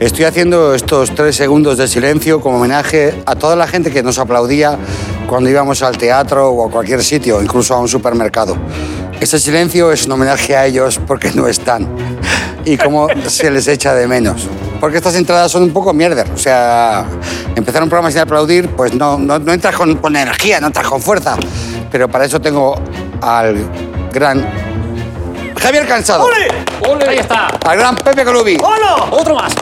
Estoy haciendo estos tres segundos de silencio como homenaje a toda la gente que nos aplaudía cuando íbamos al teatro o a cualquier sitio, incluso a un supermercado. Este silencio es un homenaje a ellos porque no están y cómo se les echa de menos. Porque estas entradas son un poco mierder. O sea, empezar un programa sin aplaudir, pues no, no, no entras con, con energía, no entras con fuerza. Pero para eso tengo al gran Javier Cansado, ¡Ole! Ahí está. al gran Pepe Colubi, ¡Hola! Otro más.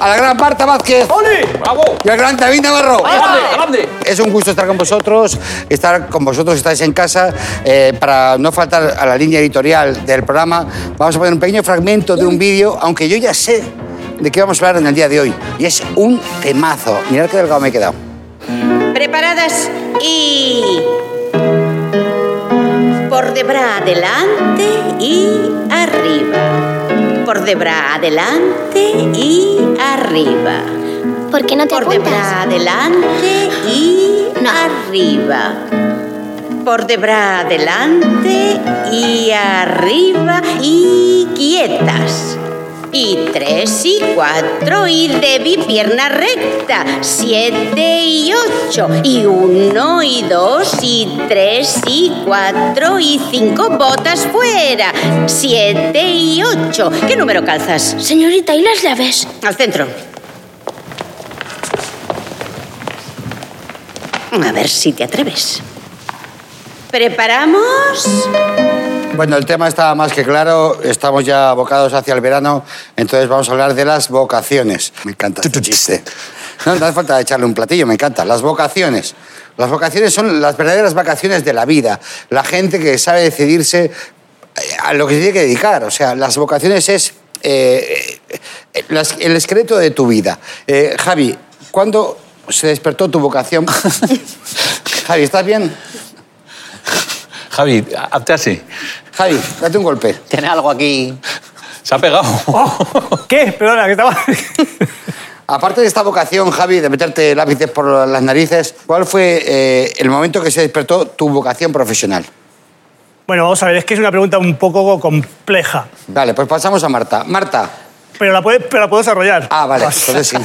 a la gran Marta Vázquez ¡Ole! ¡Bravo! y al gran David Navarro. ¡Grande, grande! Es un gusto estar con vosotros, estar con vosotros, estáis en casa. eh, para no faltar a la línea editorial del programa, vamos a poner un pequeño fragmento de un vídeo, aunque yo ya sé de qué vamos a hablar en el día de hoy. Y es un temazo. Mirad qué delgado me he quedado. Preparadas y... Por debra adelante y arriba. Por debra adelante y arriba. ¿Por qué no te Por debra apuntas? adelante y arriba. Por debra adelante y arriba y quietas. Y tres y cuatro y debi pierna recta. Siete y ocho y uno y dos y tres y cuatro y cinco botas fuera. Siete y ocho. ¿Qué número calzas? Señorita, ¿y las llaves? Al centro. A ver si te atreves. ¿Preparamos? Bueno, el tema está más que claro. Estamos ya abocados hacia el verano, entonces vamos a hablar de las vocaciones. Me encanta este chiste. No, no hace falta echarle un platillo, me encanta. Las vocaciones. Las vocaciones son las verdaderas vacaciones de la vida. La gente que sabe decidirse eh, a lo que se tiene que dedicar. O sea, las vocaciones es eh, eh, las- el esqueleto de tu vida. Eh, Javi, ¿cuándo se despertó tu vocación? Javi, ¿estás bien? Javi, hazte así. Javi, date un golpe. Tiene algo aquí. Se ha pegado. Oh. ¿Qué? Perdona, que estaba. Aparte de esta vocación, Javi, de meterte lápices por las narices, ¿cuál fue eh, el momento que se despertó tu vocación profesional? bueno, vamos a ver, es que es una pregunta un poco compleja. Vale, pues pasamos a Marta. Marta. Pero la, puede- pero la puedo desarrollar. Ah, vale, Vamos a- entonces sí.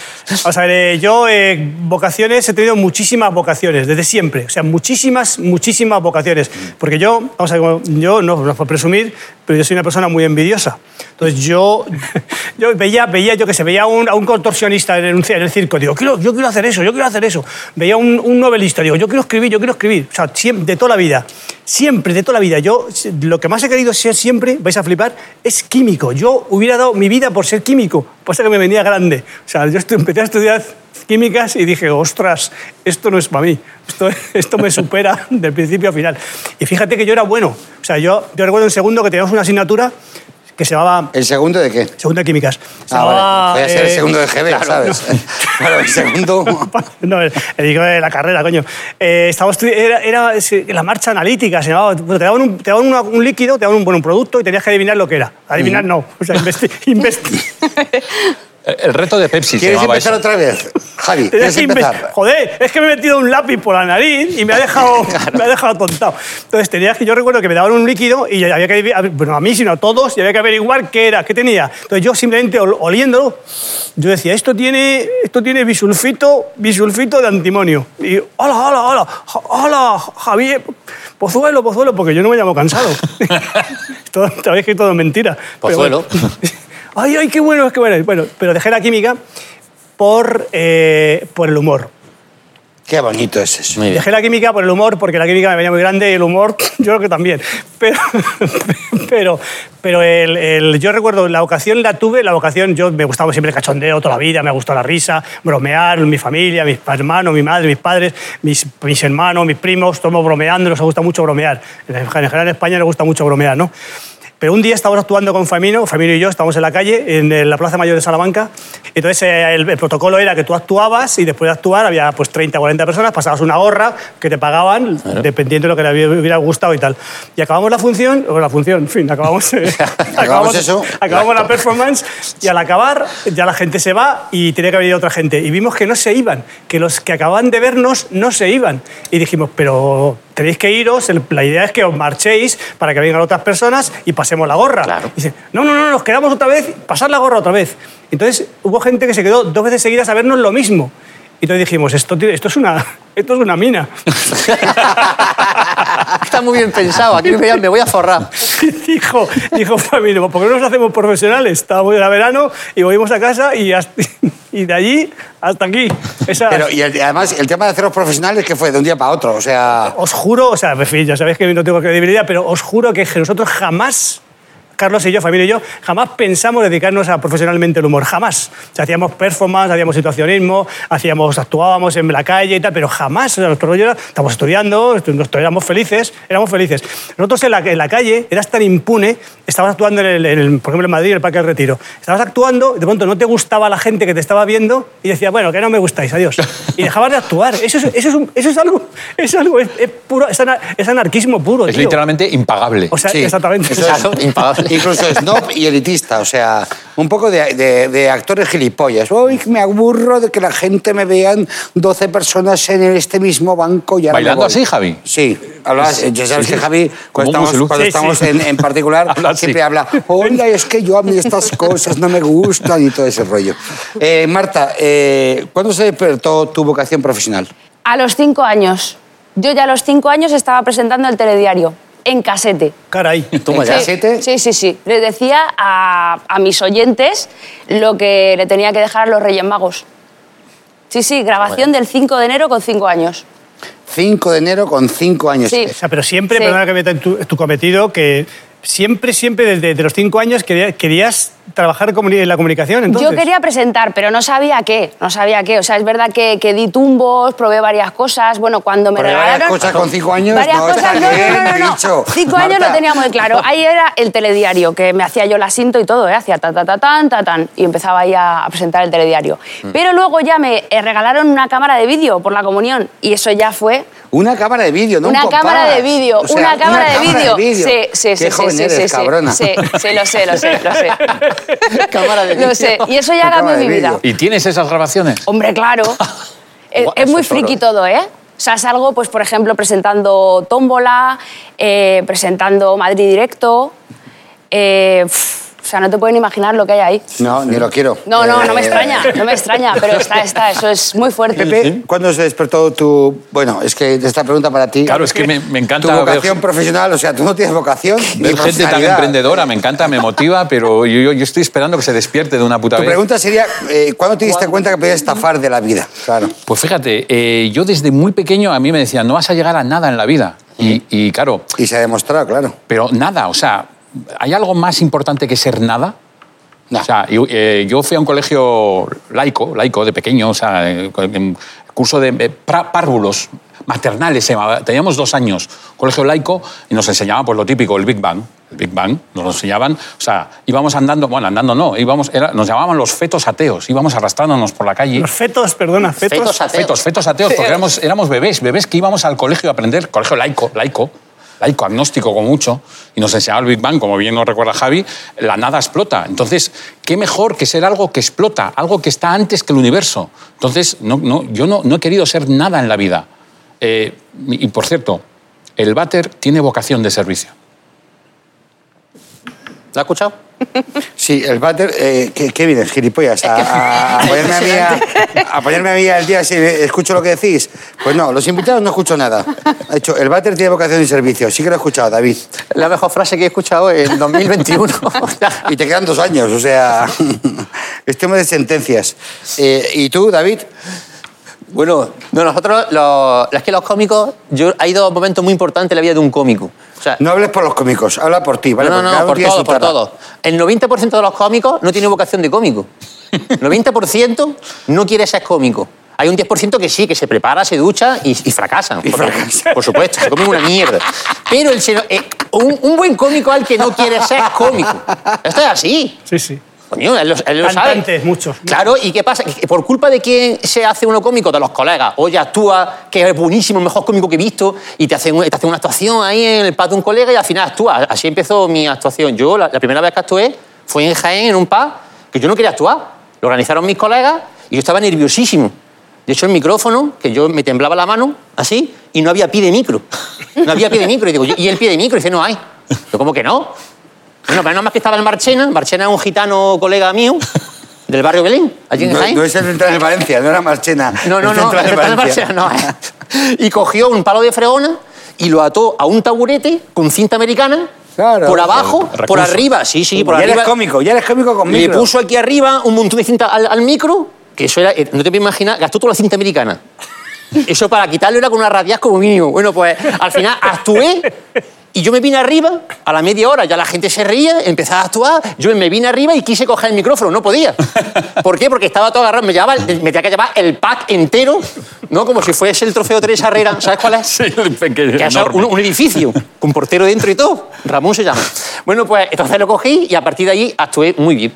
Vamos a ver, eh, yo eh, vocaciones, he tenido muchísimas vocaciones, desde siempre. O sea, muchísimas, muchísimas vocaciones. Porque yo, vamos a ver, como- yo no, no es por presumir, pero yo soy una persona muy envidiosa. Entonces yo, yo veía, veía, yo qué sé, veía a un, a un contorsionista en el, en el circo, digo, quiero, yo quiero hacer eso, yo quiero hacer eso. Veía a un, un novelista, digo, yo quiero escribir, yo quiero escribir. O sea, siem- de toda la vida. Siempre, de toda la vida. Yo, si- lo que más he querido ser siempre, vais a flipar, es químico. Yo hubiera dado mi vida por ser químico, pasa que me venía grande. O sea, yo estu- empecé a estudiar químicas y dije, ostras, esto no es para mí, esto, esto me supera del principio a final. Y fíjate que yo era bueno. O sea, yo, yo recuerdo en segundo que teníamos una asignatura que se llamaba... eh, ¿El segundo de qué? Segunda de Químicas. Se Ah, llamaba, vale. Voy a ser el eh, segundo de GB, claro, ¿sabes? no. Claro, el segundo. No, el- el digo de la carrera, coño. Eh, estaba estudi- era, era se- la marcha analítica, se llamaba. Bueno, te daban, un, te daban una- un líquido, te daban un, bueno, un producto y tenías que adivinar lo que era. Adivinar no, o sea, investi- investi- El reto de Pepsi. se ¿Quieres llamaba empezar eso. otra vez? Javi, tenías ¿quieres que inves- empezar? Joder, es que me he metido un lápiz por la nariz y me ha dejado, me ha dejado tontado. Entonces tenías que, yo recuerdo que me daban un líquido y había que, adivi- bueno, a mí sino a todos, y había que averiguar qué era, qué tenía. Entonces yo simplemente ol- oliéndolo, yo decía, esto tiene, esto tiene bisulfito, bisulfito de antimonio. Y hola, hola, hola, jo- hola, Javier, pozuelo, pozuelo, porque yo no me llamo cansado. todo, te habéis escrito todo mentira. pero bueno. Pozuelo. ay, ay, qué bueno, es que bueno. Bueno, pero dejé la química por, eh, por el humor. Qué bonito es eso. Muy bien. Dejé la química por el humor, porque la química me venía muy grande y el humor, yo creo que también. Pero, pero, pero el, el- yo recuerdo, la vocación la tuve, la vocación, yo me gustaba siempre el cachondeo toda la vida, me ha gustado la risa, bromear, mi familia, mis hermanos, mi madre, mis padres, mis, mis hermanos, mis primos, todos bromeando, nos gusta mucho bromear. En general en España nos gusta mucho bromear, ¿no? Pero un día estábamos actuando con Famino, Famino y yo, estábamos en la calle, en eh, la Plaza Mayor de Salamanca. Entonces eh, el, el protocolo era que tú actuabas y después de actuar había pues 30 o 40 personas, pasabas una gorra que te pagaban dependiendo de lo que le hubiera gustado y tal. Y acabamos la función, o la función, en fin, acabamos, eh, Acabamos eso. acabamos la performance y al acabar ya la gente se va y tenía que haber ido otra gente. Y vimos que no se iban, que los que acababan de vernos no se iban. Y dijimos, pero tenéis que iros, el- la idea es que os marchéis para que vengan otras personas y pasemos la gorra. Claro. Dice, no, no, no, nos quedamos otra vez, pasar la gorra otra vez. Entonces hubo gente que se quedó dos veces seguidas a vernos lo mismo. Y entonces dijimos, esto, tiene- esto, es, una, esto es una mina. Está muy bien pensado. Aquí me voy a- me voy a forrar. dijo, dijo Flamino, ¿por qué no nos hacemos profesionales? Estábamos en verano y volvimos a casa y, hasta- y de allí hasta aquí. Esa- Pero, y el- y además, el tema de haceros profesionales que fue de un día para otro, o sea... os juro, o sea, en fin, ya sabéis que no tengo credibilidad, pero os juro que nosotros jamás, Carlos y yo, familia y yo, jamás pensamos dedicarnos a profesionalmente el humor, jamás. O sea, hacíamos performance, hacíamos situacionismo, hacíamos, actuábamos en la calle y tal, pero jamás, o sea, nuestro rollo era, estamos estudiando, estu- nos- éramos felices, éramos felices. Nosotros en la, en la calle eras tan impune, estabas actuando, en el, en el- por ejemplo, en Madrid, en el Parque del Retiro, estabas actuando, de pronto no te gustaba la gente que te estaba viendo y decías, bueno, que no me gustáis, adiós. Y dejabas de actuar. Eso es, eso es, un- eso es algo, es, algo es, es puro, es, ana- es anarquismo puro. Es tío. literalmente impagable. O sea, Sí, exactamente. eso es Claro, impagable. Incluso snob y elitista, o sea, un poco de, de- de actores gilipollas. Uy, me aburro de que la gente me vean 12 personas en este mismo banco y ahora me ¿Bailando voy. así, Javi? Sí, hablabas, ya sabes sí. que Javi, Como cuando un estamos, musulú. cuando Sí, estamos sí. En, en particular, Habla así. siempre habla, hola, es que yo a mí estas cosas no me gustan y todo ese rollo. Eh, Marta, eh, ¿cuándo se despertó tu vocación profesional? A los cinco años. Yo ya a los cinco años estaba presentando el telediario en casete. Caray. ¿En Sí, casete? Sí, sí, sí. Les decía a, a mis oyentes lo que le tenía que dejar a los Reyes Magos. Sí, sí, grabación del 5 de enero con cinco años. 5 de enero con 5 años. Eh, Sí. O sea, pero siempre, Sí. perdona que meta en tu, tu cometido, que siempre, siempre desde de los cinco años quería- querías trabajar comuni- en la comunicación, entonces. Yo quería presentar, pero no sabía qué, no sabía qué. O sea, es verdad que, que di tumbos, probé varias cosas. Bueno, cuando me Pero regalaron... varias cosas con cinco años Varias no cosas, está no, bien no, no, no, no. dicho. Cinco años Marta. lo tenía muy claro. Ahí era el telediario, que me hacía yo la cinta y todo, ¿eh? Hacía ta, ta, ta, tan, ta, tan. Y empezaba ahí a, a presentar el telediario. Mm. Pero luego ya me eh, regalaron una cámara de vídeo por la comunión. Y eso ya fue... Una cámara de vídeo, no una un cámara compás. de vídeo, O sea, una cámara de vídeo. Sí, vídeo. sí, sí, Qué sí, joven sí, eres, sí, sí. cabrona. Sí, sí, lo sé, lo sé, lo sé. Cámara de vídeo. Lo sé. Y eso ya Cámara cambió de mi vida. vídeo. ¿Y tienes esas grabaciones? oh, Hombre, claro. es, Guau, es muy eso es oro. friki todo, ¿eh? O sea, salgo, pues, por ejemplo, presentando Tómbola, eh, presentando Madrid Directo. eh, pf, o sea, no te pueden imaginar lo que hay ahí. No, ni lo quiero. No, no, no me Eh, extraña, no me extraña, pero está, está, eso es muy fuerte. Pepe, ¿cuándo se despertó tu... Bueno, es que esta pregunta para ti... Claro, es que me, me Tu encanta vocación ver, profesional, o sea, tú no tienes vocación ni ver gente tan profesionalidad. emprendedora. Me encanta, me motiva, pero yo, yo- yo estoy esperando que se despierte de una puta Tu vez. pregunta sería, eh, ¿cuándo te diste cuenta que podías estafar de la vida? Claro. Pues fíjate, eh, yo desde muy pequeño a mí me decían, no vas a llegar a nada en la vida. Y, y claro, Y se ha demostrado, claro. pero nada, o sea, ¿hay algo más importante que ser nada? No. O sea, yo, eh, yo fui a un colegio laico, laico de pequeño, o sea, eh, en curso de eh, pra- párvulos maternales, se llamaba. teníamos dos años, colegio laico, y nos enseñaban pues lo típico, el Big Bang, el Big Bang, nos lo enseñaban, o sea, íbamos andando, bueno, andando no, íbamos, era- nos llamaban los fetos ateos, íbamos arrastrándonos por la calle. Los fetos, perdona, fetos. Fetos ateos. Fetos, fetos ateos, porque éramos, éramos bebés, bebés que íbamos al colegio a aprender, colegio laico, laico, laico, agnóstico como mucho, y nos enseñaba el Big Bang, como bien nos recuerda Javi, la nada explota. Entonces, ¿qué mejor que ser algo que explota, algo que está antes que el universo? Entonces, no, no, yo no, no he querido ser nada en la vida. Eh, y por cierto, el váter tiene vocación de servicio. ¿La has escuchado? Sí, el váter... Eh, ¿qué, qué vienes, gilipollas? A, a- a ponerme a mí a, a ponerme a mí al día si escucho lo que decís. Pues no, los invitados no escucho nada. De hecho, el váter tiene vocación y servicio. Sí que lo he escuchado, David. La mejor frase que he escuchado en 2021. Y te quedan dos años, o sea, es tema de sentencias. Eh, ¿Y tú, David? Bueno, no, nosotros, los, es que los cómicos, yo, hay dos momentos muy importantes en la vida de un cómico. O sea, No hables por los cómicos, habla por ti, ¿vale? no, Porque no, cada no, uno por tiene su todo, por tara. todo. El 90% de los cómicos no tiene vocación de cómico. El 90% no quiere ser cómico. Hay un 10% que sí, que se prepara, se ducha y, y fracasa. Y Porque, fracasa. Por supuesto, se come una mierda. Pero el, seno- eh, un, un buen cómico al que no quiere ser cómico. Esto es así. Sí, sí. Coño, él lo, él lo sabe. Cantantes, muchos. Claro, ¿y qué pasa? Que ¿Por culpa de quién se hace uno cómico? De los colegas. Oye, actúa, que es buenísimo, el mejor cómico que he visto, y te hacen, te hacen una actuación ahí en el patio de un colega y al final actúa. Así empezó mi actuación. Yo, la, la primera vez que actué fue en Jaén, en un pub, que yo no quería actuar. Lo organizaron mis colegas y yo estaba nerviosísimo. De hecho, el micrófono, que yo me temblaba la mano, así, y no había pie de micro. No había pie de micro. Y digo, ¿y el pie de micro? Y dice, no hay. Yo, ¿cómo que no? Bueno, pero nada más que estaba el Marchena. Marchena es un gitano colega mío del barrio Belén, allí en No, Jaén. no es el central de Valencia, no era Marchena. No, no, El central no, de el central de Valencia. Barcelona, no, eh. Y cogió un palo de fregona y lo ató a un taburete con cinta americana. Claro. por abajo, Recurso. por arriba, sí, sí, por ya arriba. eres cómico, ya eres cómico con Le micro. puso aquí arriba un montón de cinta al, al micro, que eso era, eh, no te puedes imaginar, gastó toda la cinta americana. Eso para quitarlo era con una radias como mínimo. Bueno, pues al final actué y yo me vine arriba a la media hora, ya la gente se reía, empezaba a actuar, yo me vine arriba y quise coger el micrófono, no podía. ¿Por qué? Porque estaba todo agarrado, me, llevaba, me tenía que llevar el pack entero, ¿no? Como si fuese el trofeo Teresa Herrera, ¿sabes cuál es? Sí, el pequeño, Que eso, enorme. un, un edificio, con portero dentro y todo. Ramón se llama. Bueno, pues entonces lo cogí y a partir de allí actué muy bien.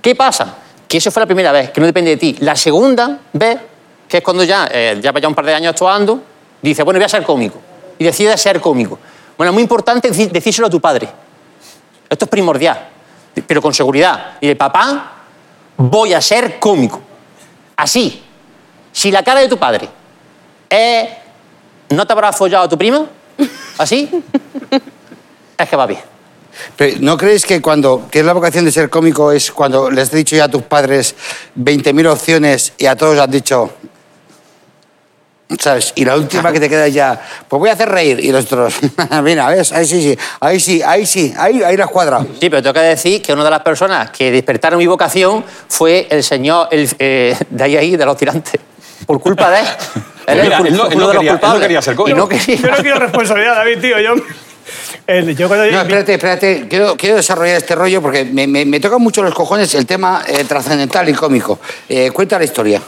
¿Qué pasa? Que eso fue la primera vez, que no depende de ti. La segunda vez, que es cuando ya, eh, ya ya un par de años actuando, dice, bueno, voy a ser cómico. Y decide ser cómico. Bueno, es muy importante deci- decírselo a tu padre. Esto es primordial, pero con seguridad. Y de papá, voy a ser cómico. Así. Si la cara de tu padre es ¿No te habrás follado a tu prima? ¿Así? es que va bien. Pero, ¿No crees que cuando tienes la vocación de ser cómico es cuando les has dicho ya a tus padres 20.000 opciones y a todos han dicho... ¿Sabes? Y la última que te queda ya, pues voy a hacer reír. Y los otros, mira, ¿ves? Ahí sí, sí, ahí sí, ahí sí, ahí, ahí la has cuadrado. Sí, pero tengo que decir que una de las personas que despertaron mi vocación fue el señor el, eh, de ahí, ahí, de los tirantes. Por culpa de él. Él Pues es Mira, el cul- él no- él uno no de los quería- él no culpables. quería ser cómico. Y no quería. Yo no quiero responsabilidad, David, tío. Yo, el- yo cuando No, espérate, espérate. Quiero, quiero desarrollar este rollo porque me, me, me toca mucho los cojones el tema eh, trascendental y cómico. Eh, cuenta la historia.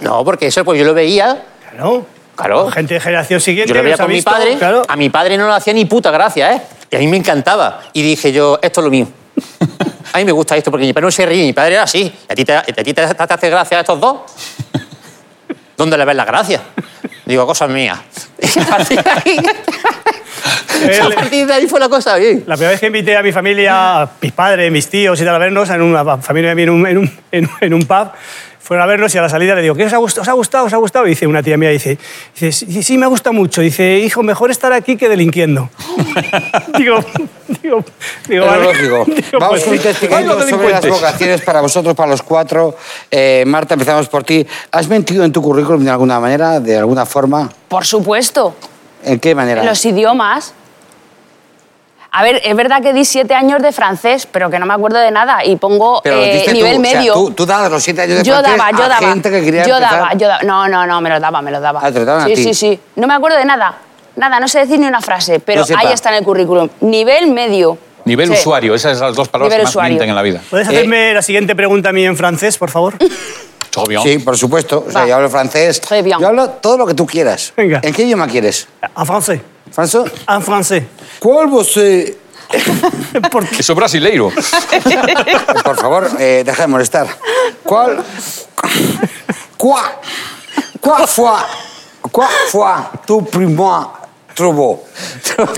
No, porque eso pues yo lo veía, Claro. Claro. Gente de generación siguiente. yo lo que veía nos ha con mi visto, padre, Claro. a mi padre no lo hacía ni puta gracia, ¿eh? Y a mí me encantaba. Y dije yo, esto es lo mío. A mí me gusta esto porque mi padre no se ríe, mi padre era así. ¿Y a ti te, a ti te- te hace gracia a estos dos? ¿Dónde le ves la gracia? Digo, cosas mías. Y a partir de ahí, a partir de ahí fue la cosa bien. La primera vez que invité a mi familia, a mis padres, mis tíos y tal, a vernos, en una familia de mí en un, en un- en un- en un pub, fueron a vernos y a la salida le digo, ¿qué os ha gustado? ¿Os ha gustado? ¿Os ha gustado? Y dice una tía mía, dice, dice, sí, sí, me ha gustado mucho. Dice, hijo, mejor estar aquí que delinquiendo. digo, digo, digo, Es vale. lógico. Digo, Vamos pues, un algo investigando sobre las delincuentes. vocaciones para vosotros, para los cuatro. Eh, Marta, empezamos por ti. ¿Has mentido en tu currículum de alguna manera, de alguna forma? Por supuesto. ¿En qué manera? En los idiomas. A ver, es verdad que di siete años de francés, pero que no me acuerdo de nada y pongo Pero lo eh, diste tú, nivel o sea, medio. tú, tú dabas los siete años de yo francés daba, yo a daba. gente que quería yo empezar. daba, yo daba. No, no, no, me lo daba, me lo daba. Ah, te lo daban a sí, ti. sí, sí. No me acuerdo de nada. Nada, no sé decir ni una frase, pero No sepa. ahí está en el currículum. Nivel medio. Nivel Sí. usuario, esas son las dos palabras Nivel que más usuario. mienten en la vida. ¿Puedes hacerme Eh. la siguiente pregunta a mí en francés, por favor? Obvio. Sí, por supuesto. O sea, Va. yo hablo francés. Très bien. Yo hablo todo lo que tú quieras. Venga. ¿En qué idioma quieres? En francés. ¿François? En francés. ¿Cuál vos...? eh? ¿Por qué? Eso es brasileiro. Por favor, eh, deja de molestar. ¿Cuál? ¿Cuál? ¿Cuál fue? ¿Cuál fue tu primer trabajo?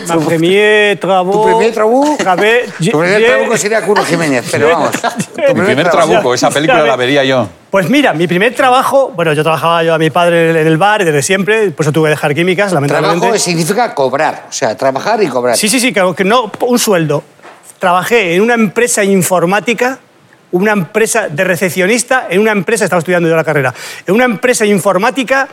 Ma premier trabajo... ¿Tu primer trabajo? Travé- Tu primer Oh, Ye- trabajo sería Curro Jiménez, pero vamos. Tu Mi primer trabajo. trabuco, esa película Ya la ve. vería yo. Pues mira, mi primer trabajo, bueno, yo trabajaba yo a mi padre en el bar desde siempre, por eso tuve que dejar químicas, lamentablemente. Trabajo significa cobrar, o sea, trabajar y cobrar. Sí, sí, sí, claro, que no, un sueldo. Trabajé en una empresa informática, una empresa de recepcionista, en una empresa, estaba estudiando yo la carrera, en una empresa informática,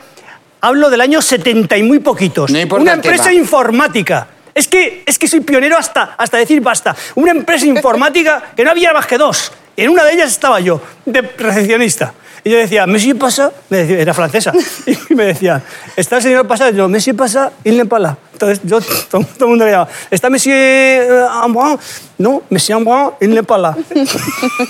hablo del año 70 y muy poquitos. No importa una el tema. empresa informática. Es que, es que soy pionero hasta, hasta decir basta. Una empresa informática que no había más que dos. En una de ellas estaba yo, de recepcionista. Y yo decía, Monsieur pasa, me decía, era francesa, y me decía, está el señor pasa, yo, Monsieur pasa, il ne parle. Entonces yo, todo, todo el mundo me llamaba, ¿está Monsieur eh, Ambrun? No, Monsieur Ambrun, il ne parle.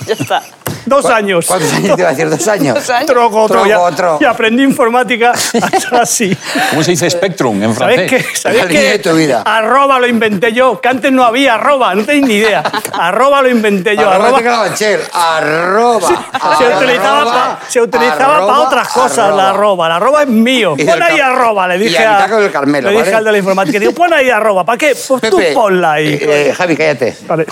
Ya está. Dos años. ¿Cuántos años te iba a decir? ¿Dos años? Dos años. Troco, otro, Troco, ya- otro. Y aprendí informática hasta así. ¿Cómo se dice Spectrum en ¿Sabéis qué? francés? ¿Sabéis La línea de qué? tu vida. Arroba lo inventé yo, que antes no había arroba, no tenéis ni idea. Arroba lo inventé yo. Arroba, Arroba, de Carabanchel, arroba, se arroba, utilizaba, pa- se utilizaba arroba, para otras cosas la arroba. La arroba es mío. Y Pon del ahí Car- arroba, le y dije, del a- Taco del Carmelo, le dije ¿vale? al de la informática. Digo, pon ahí arroba, ¿para qué? Pues tú Pepe, ponla ahí. eh, eh, Javi, cállate. Vale.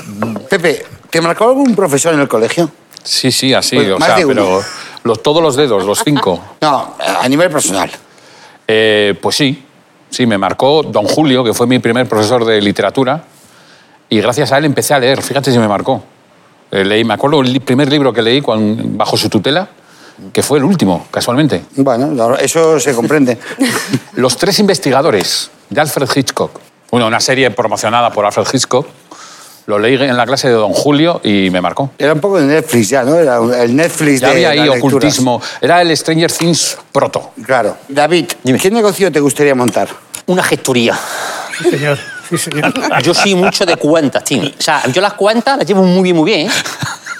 Pepe, ¿te marcó algún profesor en el colegio? Sí, sí, así. Pues o más sea, de uno. pero los, todos los dedos, los cinco. No, a nivel personal. Eh, pues sí. Sí, me marcó don Julio, que fue mi primer profesor de literatura, y gracias a él empecé a leer. Fíjate si me marcó. Eh, Leí, me acuerdo el li- primer libro que leí cuan- bajo su tutela, que fue el último, casualmente. Bueno, lo- eso se comprende. Los tres investigadores de Alfred Hitchcock. Bueno, una serie promocionada por Alfred Hitchcock. Lo leí en la clase de don Julio y me marcó. Era un poco de Netflix ya, ¿no? Era un- el Netflix Ya de había ahí las lecturas. ocultismo. Era el Stranger Things proto. Claro. David, ¿qué negocio te gustaría montar? Una gestoría. Sí, señor. Sí, señor. Yo soy mucho de cuentas, tío. O sea, yo las cuentas las llevo muy bien, muy bien. ¿eh?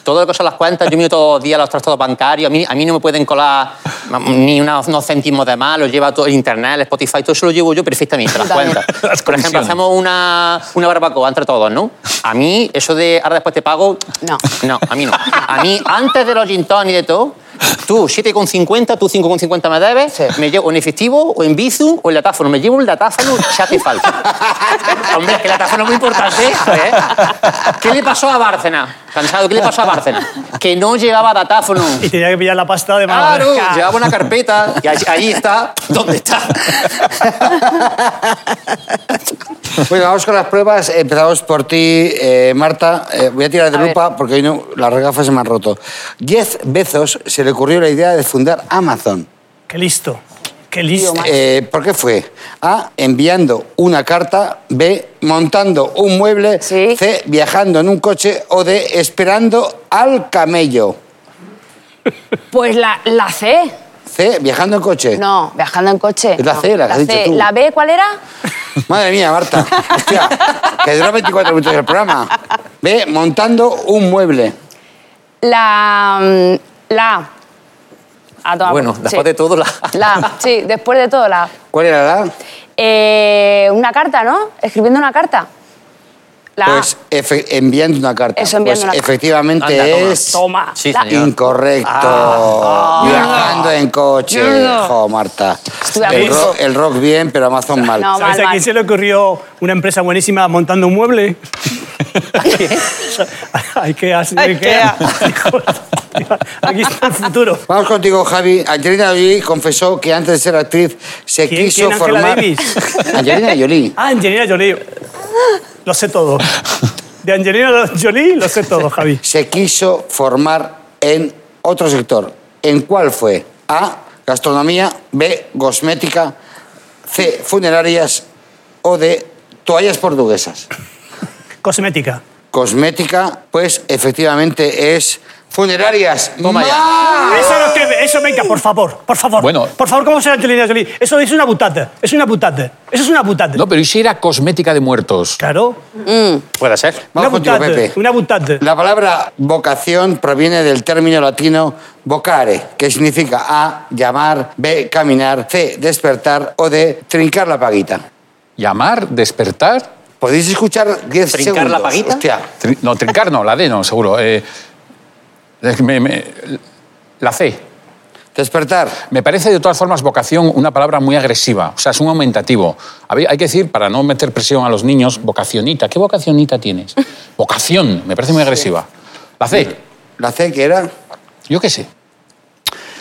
Todo lo que son las cuentas, yo miro todos los días los trastos bancarios. A mí, a mí no me pueden colar ni una- unos céntimos de más. Lo lleva todo el internet, el Spotify, todo eso lo llevo yo perfectamente, las También. cuentas. Las Por ejemplo, comisiones. hacemos una, una barbacoa entre todos, ¿no? A mí, eso de ahora después te pago... No. No, a mí no. A mí, antes de los gin tonic y de todo, tú 7,50, tú 5,50 me debes, me llevo en efectivo, o en Bizum, o en latáfono. Me llevo un latáfono, ya te falta. Hombre, es que el latáfono es muy importante. ¿eh? ¿Qué le pasó a Bárcena? Cansado, ¿qué le pasó a Bárcena? Que no llevaba latáfono. Y tenía que pillar la pasta de mala Claro, manera. llevaba una carpeta y ahí, ahí está. ¿Dónde está? Bueno, vamos con las pruebas. Empezamos por ti, eh, Marta. Eh, voy a tirar de A ver. lupa porque hoy no, las regafas se me han roto. Jeff Bezos se le ocurrió la idea de fundar Amazon. Qué listo. Qué listo. Eh, ¿Por qué fue? A. Enviando una carta. B. Montando un mueble. Sí. C. Viajando en un coche. O D. Esperando al camello. Pues la, la C. C. Viajando en coche. No, viajando en coche. Es la no. C, la que has dicho tú. ¿La B cuál era? Madre mía, Marta. Hostia, que duró 24 minutos el programa. B. Montando un mueble. La. mm, La. A. A tomar Bueno, por- después sí. de todo, la... La, sí, después de todo, la. ¿Cuál era la? Eh, una carta, ¿no? Escribiendo una carta. La. A. Pues efe- enviando una carta. Eso, enviando pues una carta. efectivamente Anda, toma. es Toma. Sí, La- Ah, señor. incorrecto. Viajando en coche. Jo, Marta. Estuve a El, punto. ro- el rock bien, pero Amazon mal. No, ¿Sabéis mal, a mal. quién se le ocurrió una empresa buenísima montando un mueble? Hay que IKEA. Aquí está el futuro. Vamos contigo, Javi. Angelina Jolie confesó que antes de ser actriz se ¿Quién- quiso quién, Angela formar. Davis? Angelina Jolie. Ah, Angelina Jolie. Lo sé todo. De Angelina Jolie lo sé todo, Javi. se quiso formar en otro sector. ¿En cuál fue? A. Gastronomía. B. Cosmética. C. Funerarias. O D. Toallas portuguesas. Cosmética. Cosmética, pues efectivamente es funerarias. Toma ya. ¡Más! Eso no que, eso venga, por favor, por favor. Bueno. Por favor, ¿cómo será Angelina Jolie? Eso es una butata, es una butata. Eso es una butata. No, pero ¿y si era cosmética de muertos? Claro. Puede ser. Una Vamos contigo, butata, Pepe. una butata. La palabra vocación proviene del término latino vocare, que significa A. Llamar. B. Caminar. C. Despertar. O D. Trincar la paguita. Llamar, despertar. ¿Podéis escuchar 10 segundos? ¿Trincar la paguita? Hostia. tri- no, trincar no, la D no, seguro. Eh, es- me- me- la C. Despertar. Me parece de todas formas vocación una palabra muy agresiva, o sea, es un aumentativo. Habí- Hay que decir, para no meter presión a los niños, vocacionita. ¿Qué vocacionita tienes? Vocación, me parece muy agresiva. La C, La C que era, yo qué sé.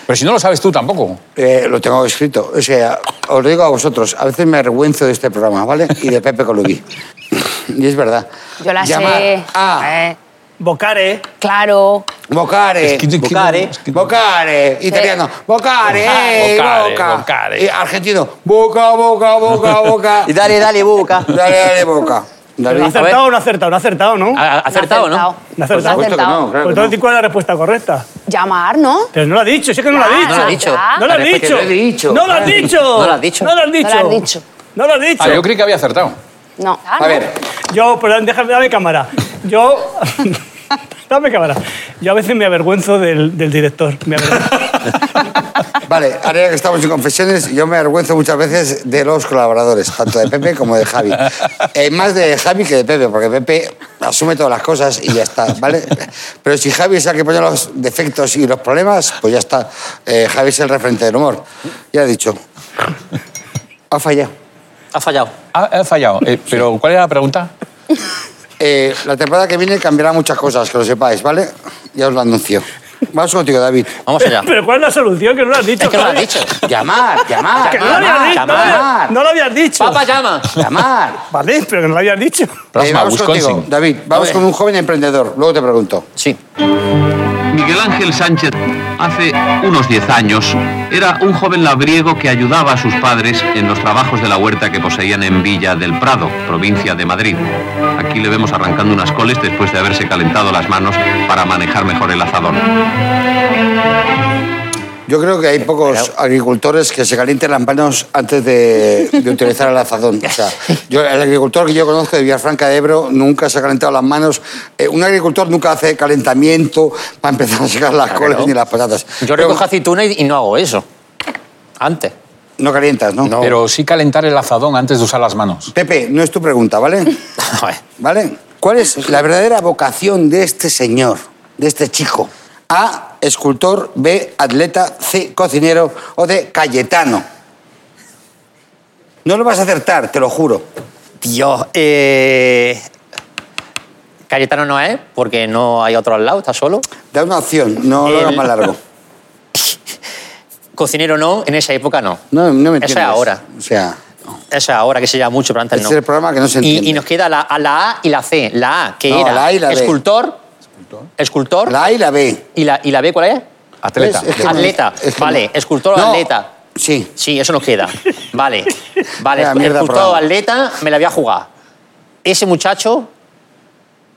Pero si no lo sabes tú tampoco. eh, lo tengo escrito. O sea, os lo digo a vosotros, a veces me avergüenzo de este programa, ¿vale? Y de Pepe Colubi. y es verdad. Yo la Llamar sé. A. Eh, Bocare. claro. Vocare. Es que- es que- vocare. es que- Ah, vocare. Italiano. Vocare. eh, Vocare, boca. vocare. Eh, argentino. Boca, boca, boca, boca. Y dale, dale, boca. dale, dale, boca. David. ¿Ha ¿eh? acertado o no ha acertado? No ha acertado, ¿no? Ha- ha Acertado, ¿no? No ha Pues ha acertado. Por supuesto que Ah, no, claro Pues que entonces, ¿cuál es la respuesta correcta? Llamar, ¿no? Pero no lo ha dicho, sí que no lo ha Claro, dicho. No lo ha Ah, dicho. ya. No lo has Pero es que dicho. lo he dicho. No lo has dicho. Ah, No lo has dicho. No lo has dicho. No lo has dicho. No lo has dicho. Ah, yo creí que había acertado. No. A ver, Yo, perdón, déjame, dame cámara. Yo. dame cámara. Yo a veces me avergüenzo del, del director. Me avergüenzo. Vale, ahora ya que estamos en confesiones, yo me avergüenzo muchas veces de los colaboradores, tanto de Pepe como de Javi. Eh, más de Javi que de Pepe, porque Pepe asume todas las cosas y ya está, ¿vale? Pero si Javi es el que pone los defectos y los problemas, pues ya está. Eh, Javi es el referente del humor. Ya he dicho. Ha fallado. Ha fallado. Ah, He fallado. Eh, pero ¿cuál era la pregunta? Eh, la temporada que viene cambiará muchas cosas, que lo sepáis, ¿vale? Ya os lo anuncio. Vamos contigo, David. Vamos allá. Pero ¿cuál es la solución? Que no lo has dicho. Es que no lo has Javi. dicho. Llamar, llamar. Que no lo llamar, habías dicho. no lo habías- llamar, No lo habías dicho. Papá llama. llamar. Vale, pero que no lo habías dicho. Eh, Plasma, vamos contigo, Wisconsin. David. Vamos con un joven emprendedor. Luego te pregunto. Sí. Miguel Ángel Sánchez, hace unos 10 años, era un joven labriego que ayudaba a sus padres en los trabajos de la huerta que poseían en Villa del Prado, provincia de Madrid. Aquí le vemos arrancando unas coles después de haberse calentado las manos para manejar mejor el azadón. Yo creo que hay pocos agricultores que se calienten las manos antes de, de utilizar el azadón. O sea, yo, el agricultor que yo conozco de Villafranca de Ebro nunca se ha calentado las manos. Eh, un agricultor nunca hace calentamiento para empezar a sacar las coles ni las patatas. Yo Pero recojo aceituna y, y no hago eso. Antes. No calientas, ¿no? Oh. Pero sí calentar el azadón antes de usar las manos. Pepe, no es tu pregunta, ¿vale? ¿Vale? ¿Cuál es la verdadera vocación de este señor, de este chico? A, escultor, B, atleta, C, cocinero o D, Cayetano. No lo vas a acertar, te lo juro. Dios. Eh... Cayetano no es, porque no hay otro al lado, está solo. Da una opción, no lo El- hagas más largo. Cocinero no, en esa época no. No, no me Eso es entiendes. ahora. O sea, Esa ahora que se llama mucho, pero antes Ese no. es el programa que no se entiende. Y, y nos queda la, a la A y la C. La A, que No, era la A y la B. escultor, escultor, la A y la B. y, la, y la B, ¿cuál es? Atleta. Es que- atleta. es que- vale, escultor, No, atleta. Sí. Sí, eso nos queda. Vale, vale. Vaya mierda escultor, programa. atleta, me la voy a jugar. Ese muchacho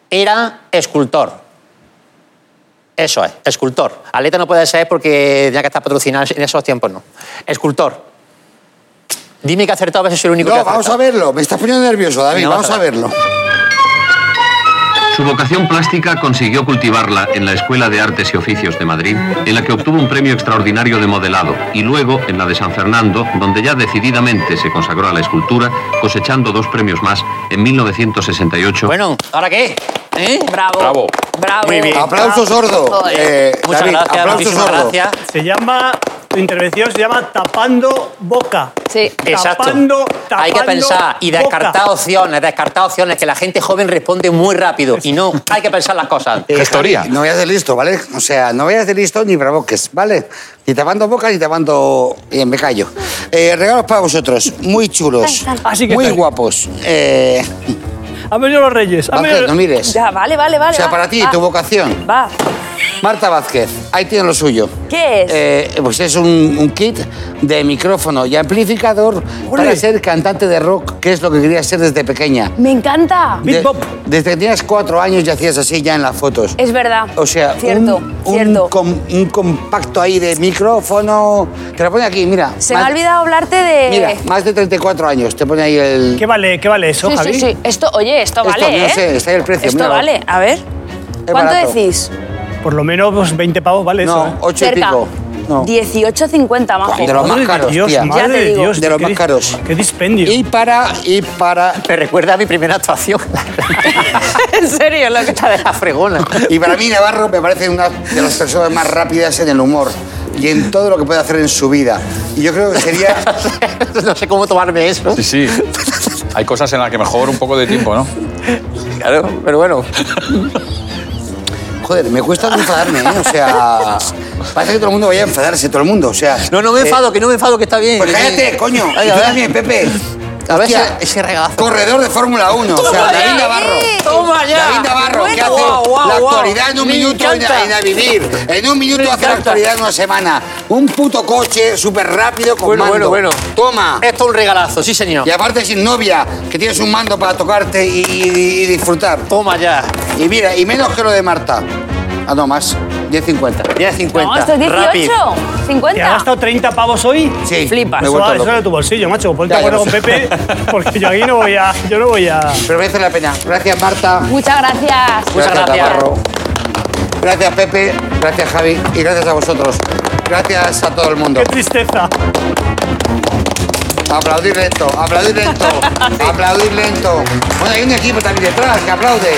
era escultor. Eso es, escultor. Atleta no puede ser porque tenía que estar patrocinado en esos tiempos, no. Escultor. Dime que he acertado, a ver si soy el único que No, ha vamos acertado. a verlo. Me estás poniendo nervioso, David. Venga, vamos a verlo. Su vocación plástica consiguió cultivarla en la Escuela de Artes y Oficios de Madrid, en la que obtuvo un premio extraordinario de modelado, y luego en la de San Fernando, donde ya decididamente se consagró a la escultura, cosechando dos premios más en 1968 Bueno, ¿ahora qué? ¿Eh? Bravo. Bravo. Bravo. Muy bien. Aplauso sordo. Joder. Eh, Muchas David, gracias, aplauso muchísimas sordo. gracias. Se llama, tu intervención se llama tapando boca. Sí. Exacto. Tapando, Hay que tapando pensar y boca. descartar opciones, descartar opciones, que la gente joven responde muy rápido. Y no, hay que pensar las cosas. Eh, Gestoría. No vayas de listo, ¿vale? O sea, no vayas de listo ni provoques, ¿vale? Ni tapando bocas ni tapando... Bien, me callo. Eh, regalos para vosotros, muy chulos, Tal, tal. Así que muy tal. guapos. Eh, Han venido los reyes. han Vázquez, venido- no mires. Ya, vale, vale, vale. O sea, va, para ti, va. tu vocación. Va. Marta Vázquez, ahí tiene lo suyo. ¿Qué es? Eh, pues es un, un kit de micrófono y amplificador para ser cantante de rock, que es lo que quería ser desde pequeña. Me encanta. De- Bebop. desde que tenías cuatro años ya hacías así ya en las fotos. Es verdad. O sea, cierto, un, un cierto. com- un compacto ahí de micrófono. Te lo pone aquí, mira. Se Más- me ha olvidado hablarte de. Mira, más de 34 años. Te pone ahí el. ¿Qué vale, qué vale eso, sí, Javi? sí, sí. Esto, oye, esto, Esto, vale, yo ¿eh? sé, está ahí el precio, Esto míralo. vale. A ver. ¿Cuánto barato. decís? Por lo menos pues, 20 pavos vale eso. no, ¿eh? 8 y Cerca. pico. No. 18,50 más. De los más Madre de caros, Dios, tía. madre Ya te de digo. Dios. De los qué más dis- caros. Qué dispendio. Y para, y para, Me recuerda a mi primera actuación. en serio, lo que La de la fregona. y para mí Navarro me parece una de las personas más rápidas en el humor y en todo lo que puede hacer en su vida. Y yo creo que sería No sé cómo tomarme eso. Sí, sí. Hay cosas en las que mejor un poco de tiempo, ¿no? Claro, pero bueno. Joder, me cuesta no enfadarme, ¿eh? O sea, parece que todo el mundo vaya a enfadarse, todo el mundo, o sea... No, no me eh, enfado, que no me enfado, que está bien. pues cállate, coño. Y Ay, a tú ver. también, Pepe. A ver Hostia, ese, ese regalazo. Corredor de Fórmula 1, o sea, David Navarro. eh, Toma ya. David Navarro, que Bueno, hace guau, guau, la guau. actualidad en un Me minuto en, encanta. en a vivir. En un minuto Me hace la encanta. actualidad en una semana. Un puto coche súper rápido con Bueno, mando. bueno, bueno. Toma. Esto es un regalazo, sí, señor. Y aparte sin novia, que tienes un mando para tocarte y, y- y disfrutar. Toma ya. Y mira, y menos que lo de Marta. Ah, no, más. 10.50. 10.50. No, esto es 18. Rápido. 50. ¿Te ha gastado 30 pavos hoy? Sí, Flipas. me he Eso vuelto va- eso loco. era tu bolsillo, macho. Ponte Ya, de ya acuerdo lo sé. con Pepe, porque yo aquí no voy a. Yo no voy a. Pero merece la pena. Gracias, Marta. Muchas gracias. Muchas gracias. Navarro. Gracias, Pepe. Gracias, Javi. Y gracias a vosotros. Gracias a todo el mundo. Qué tristeza. Aplaudir lento, aplaudir lento, aplaudir lento. Bueno, hay un equipo también detrás que aplaude.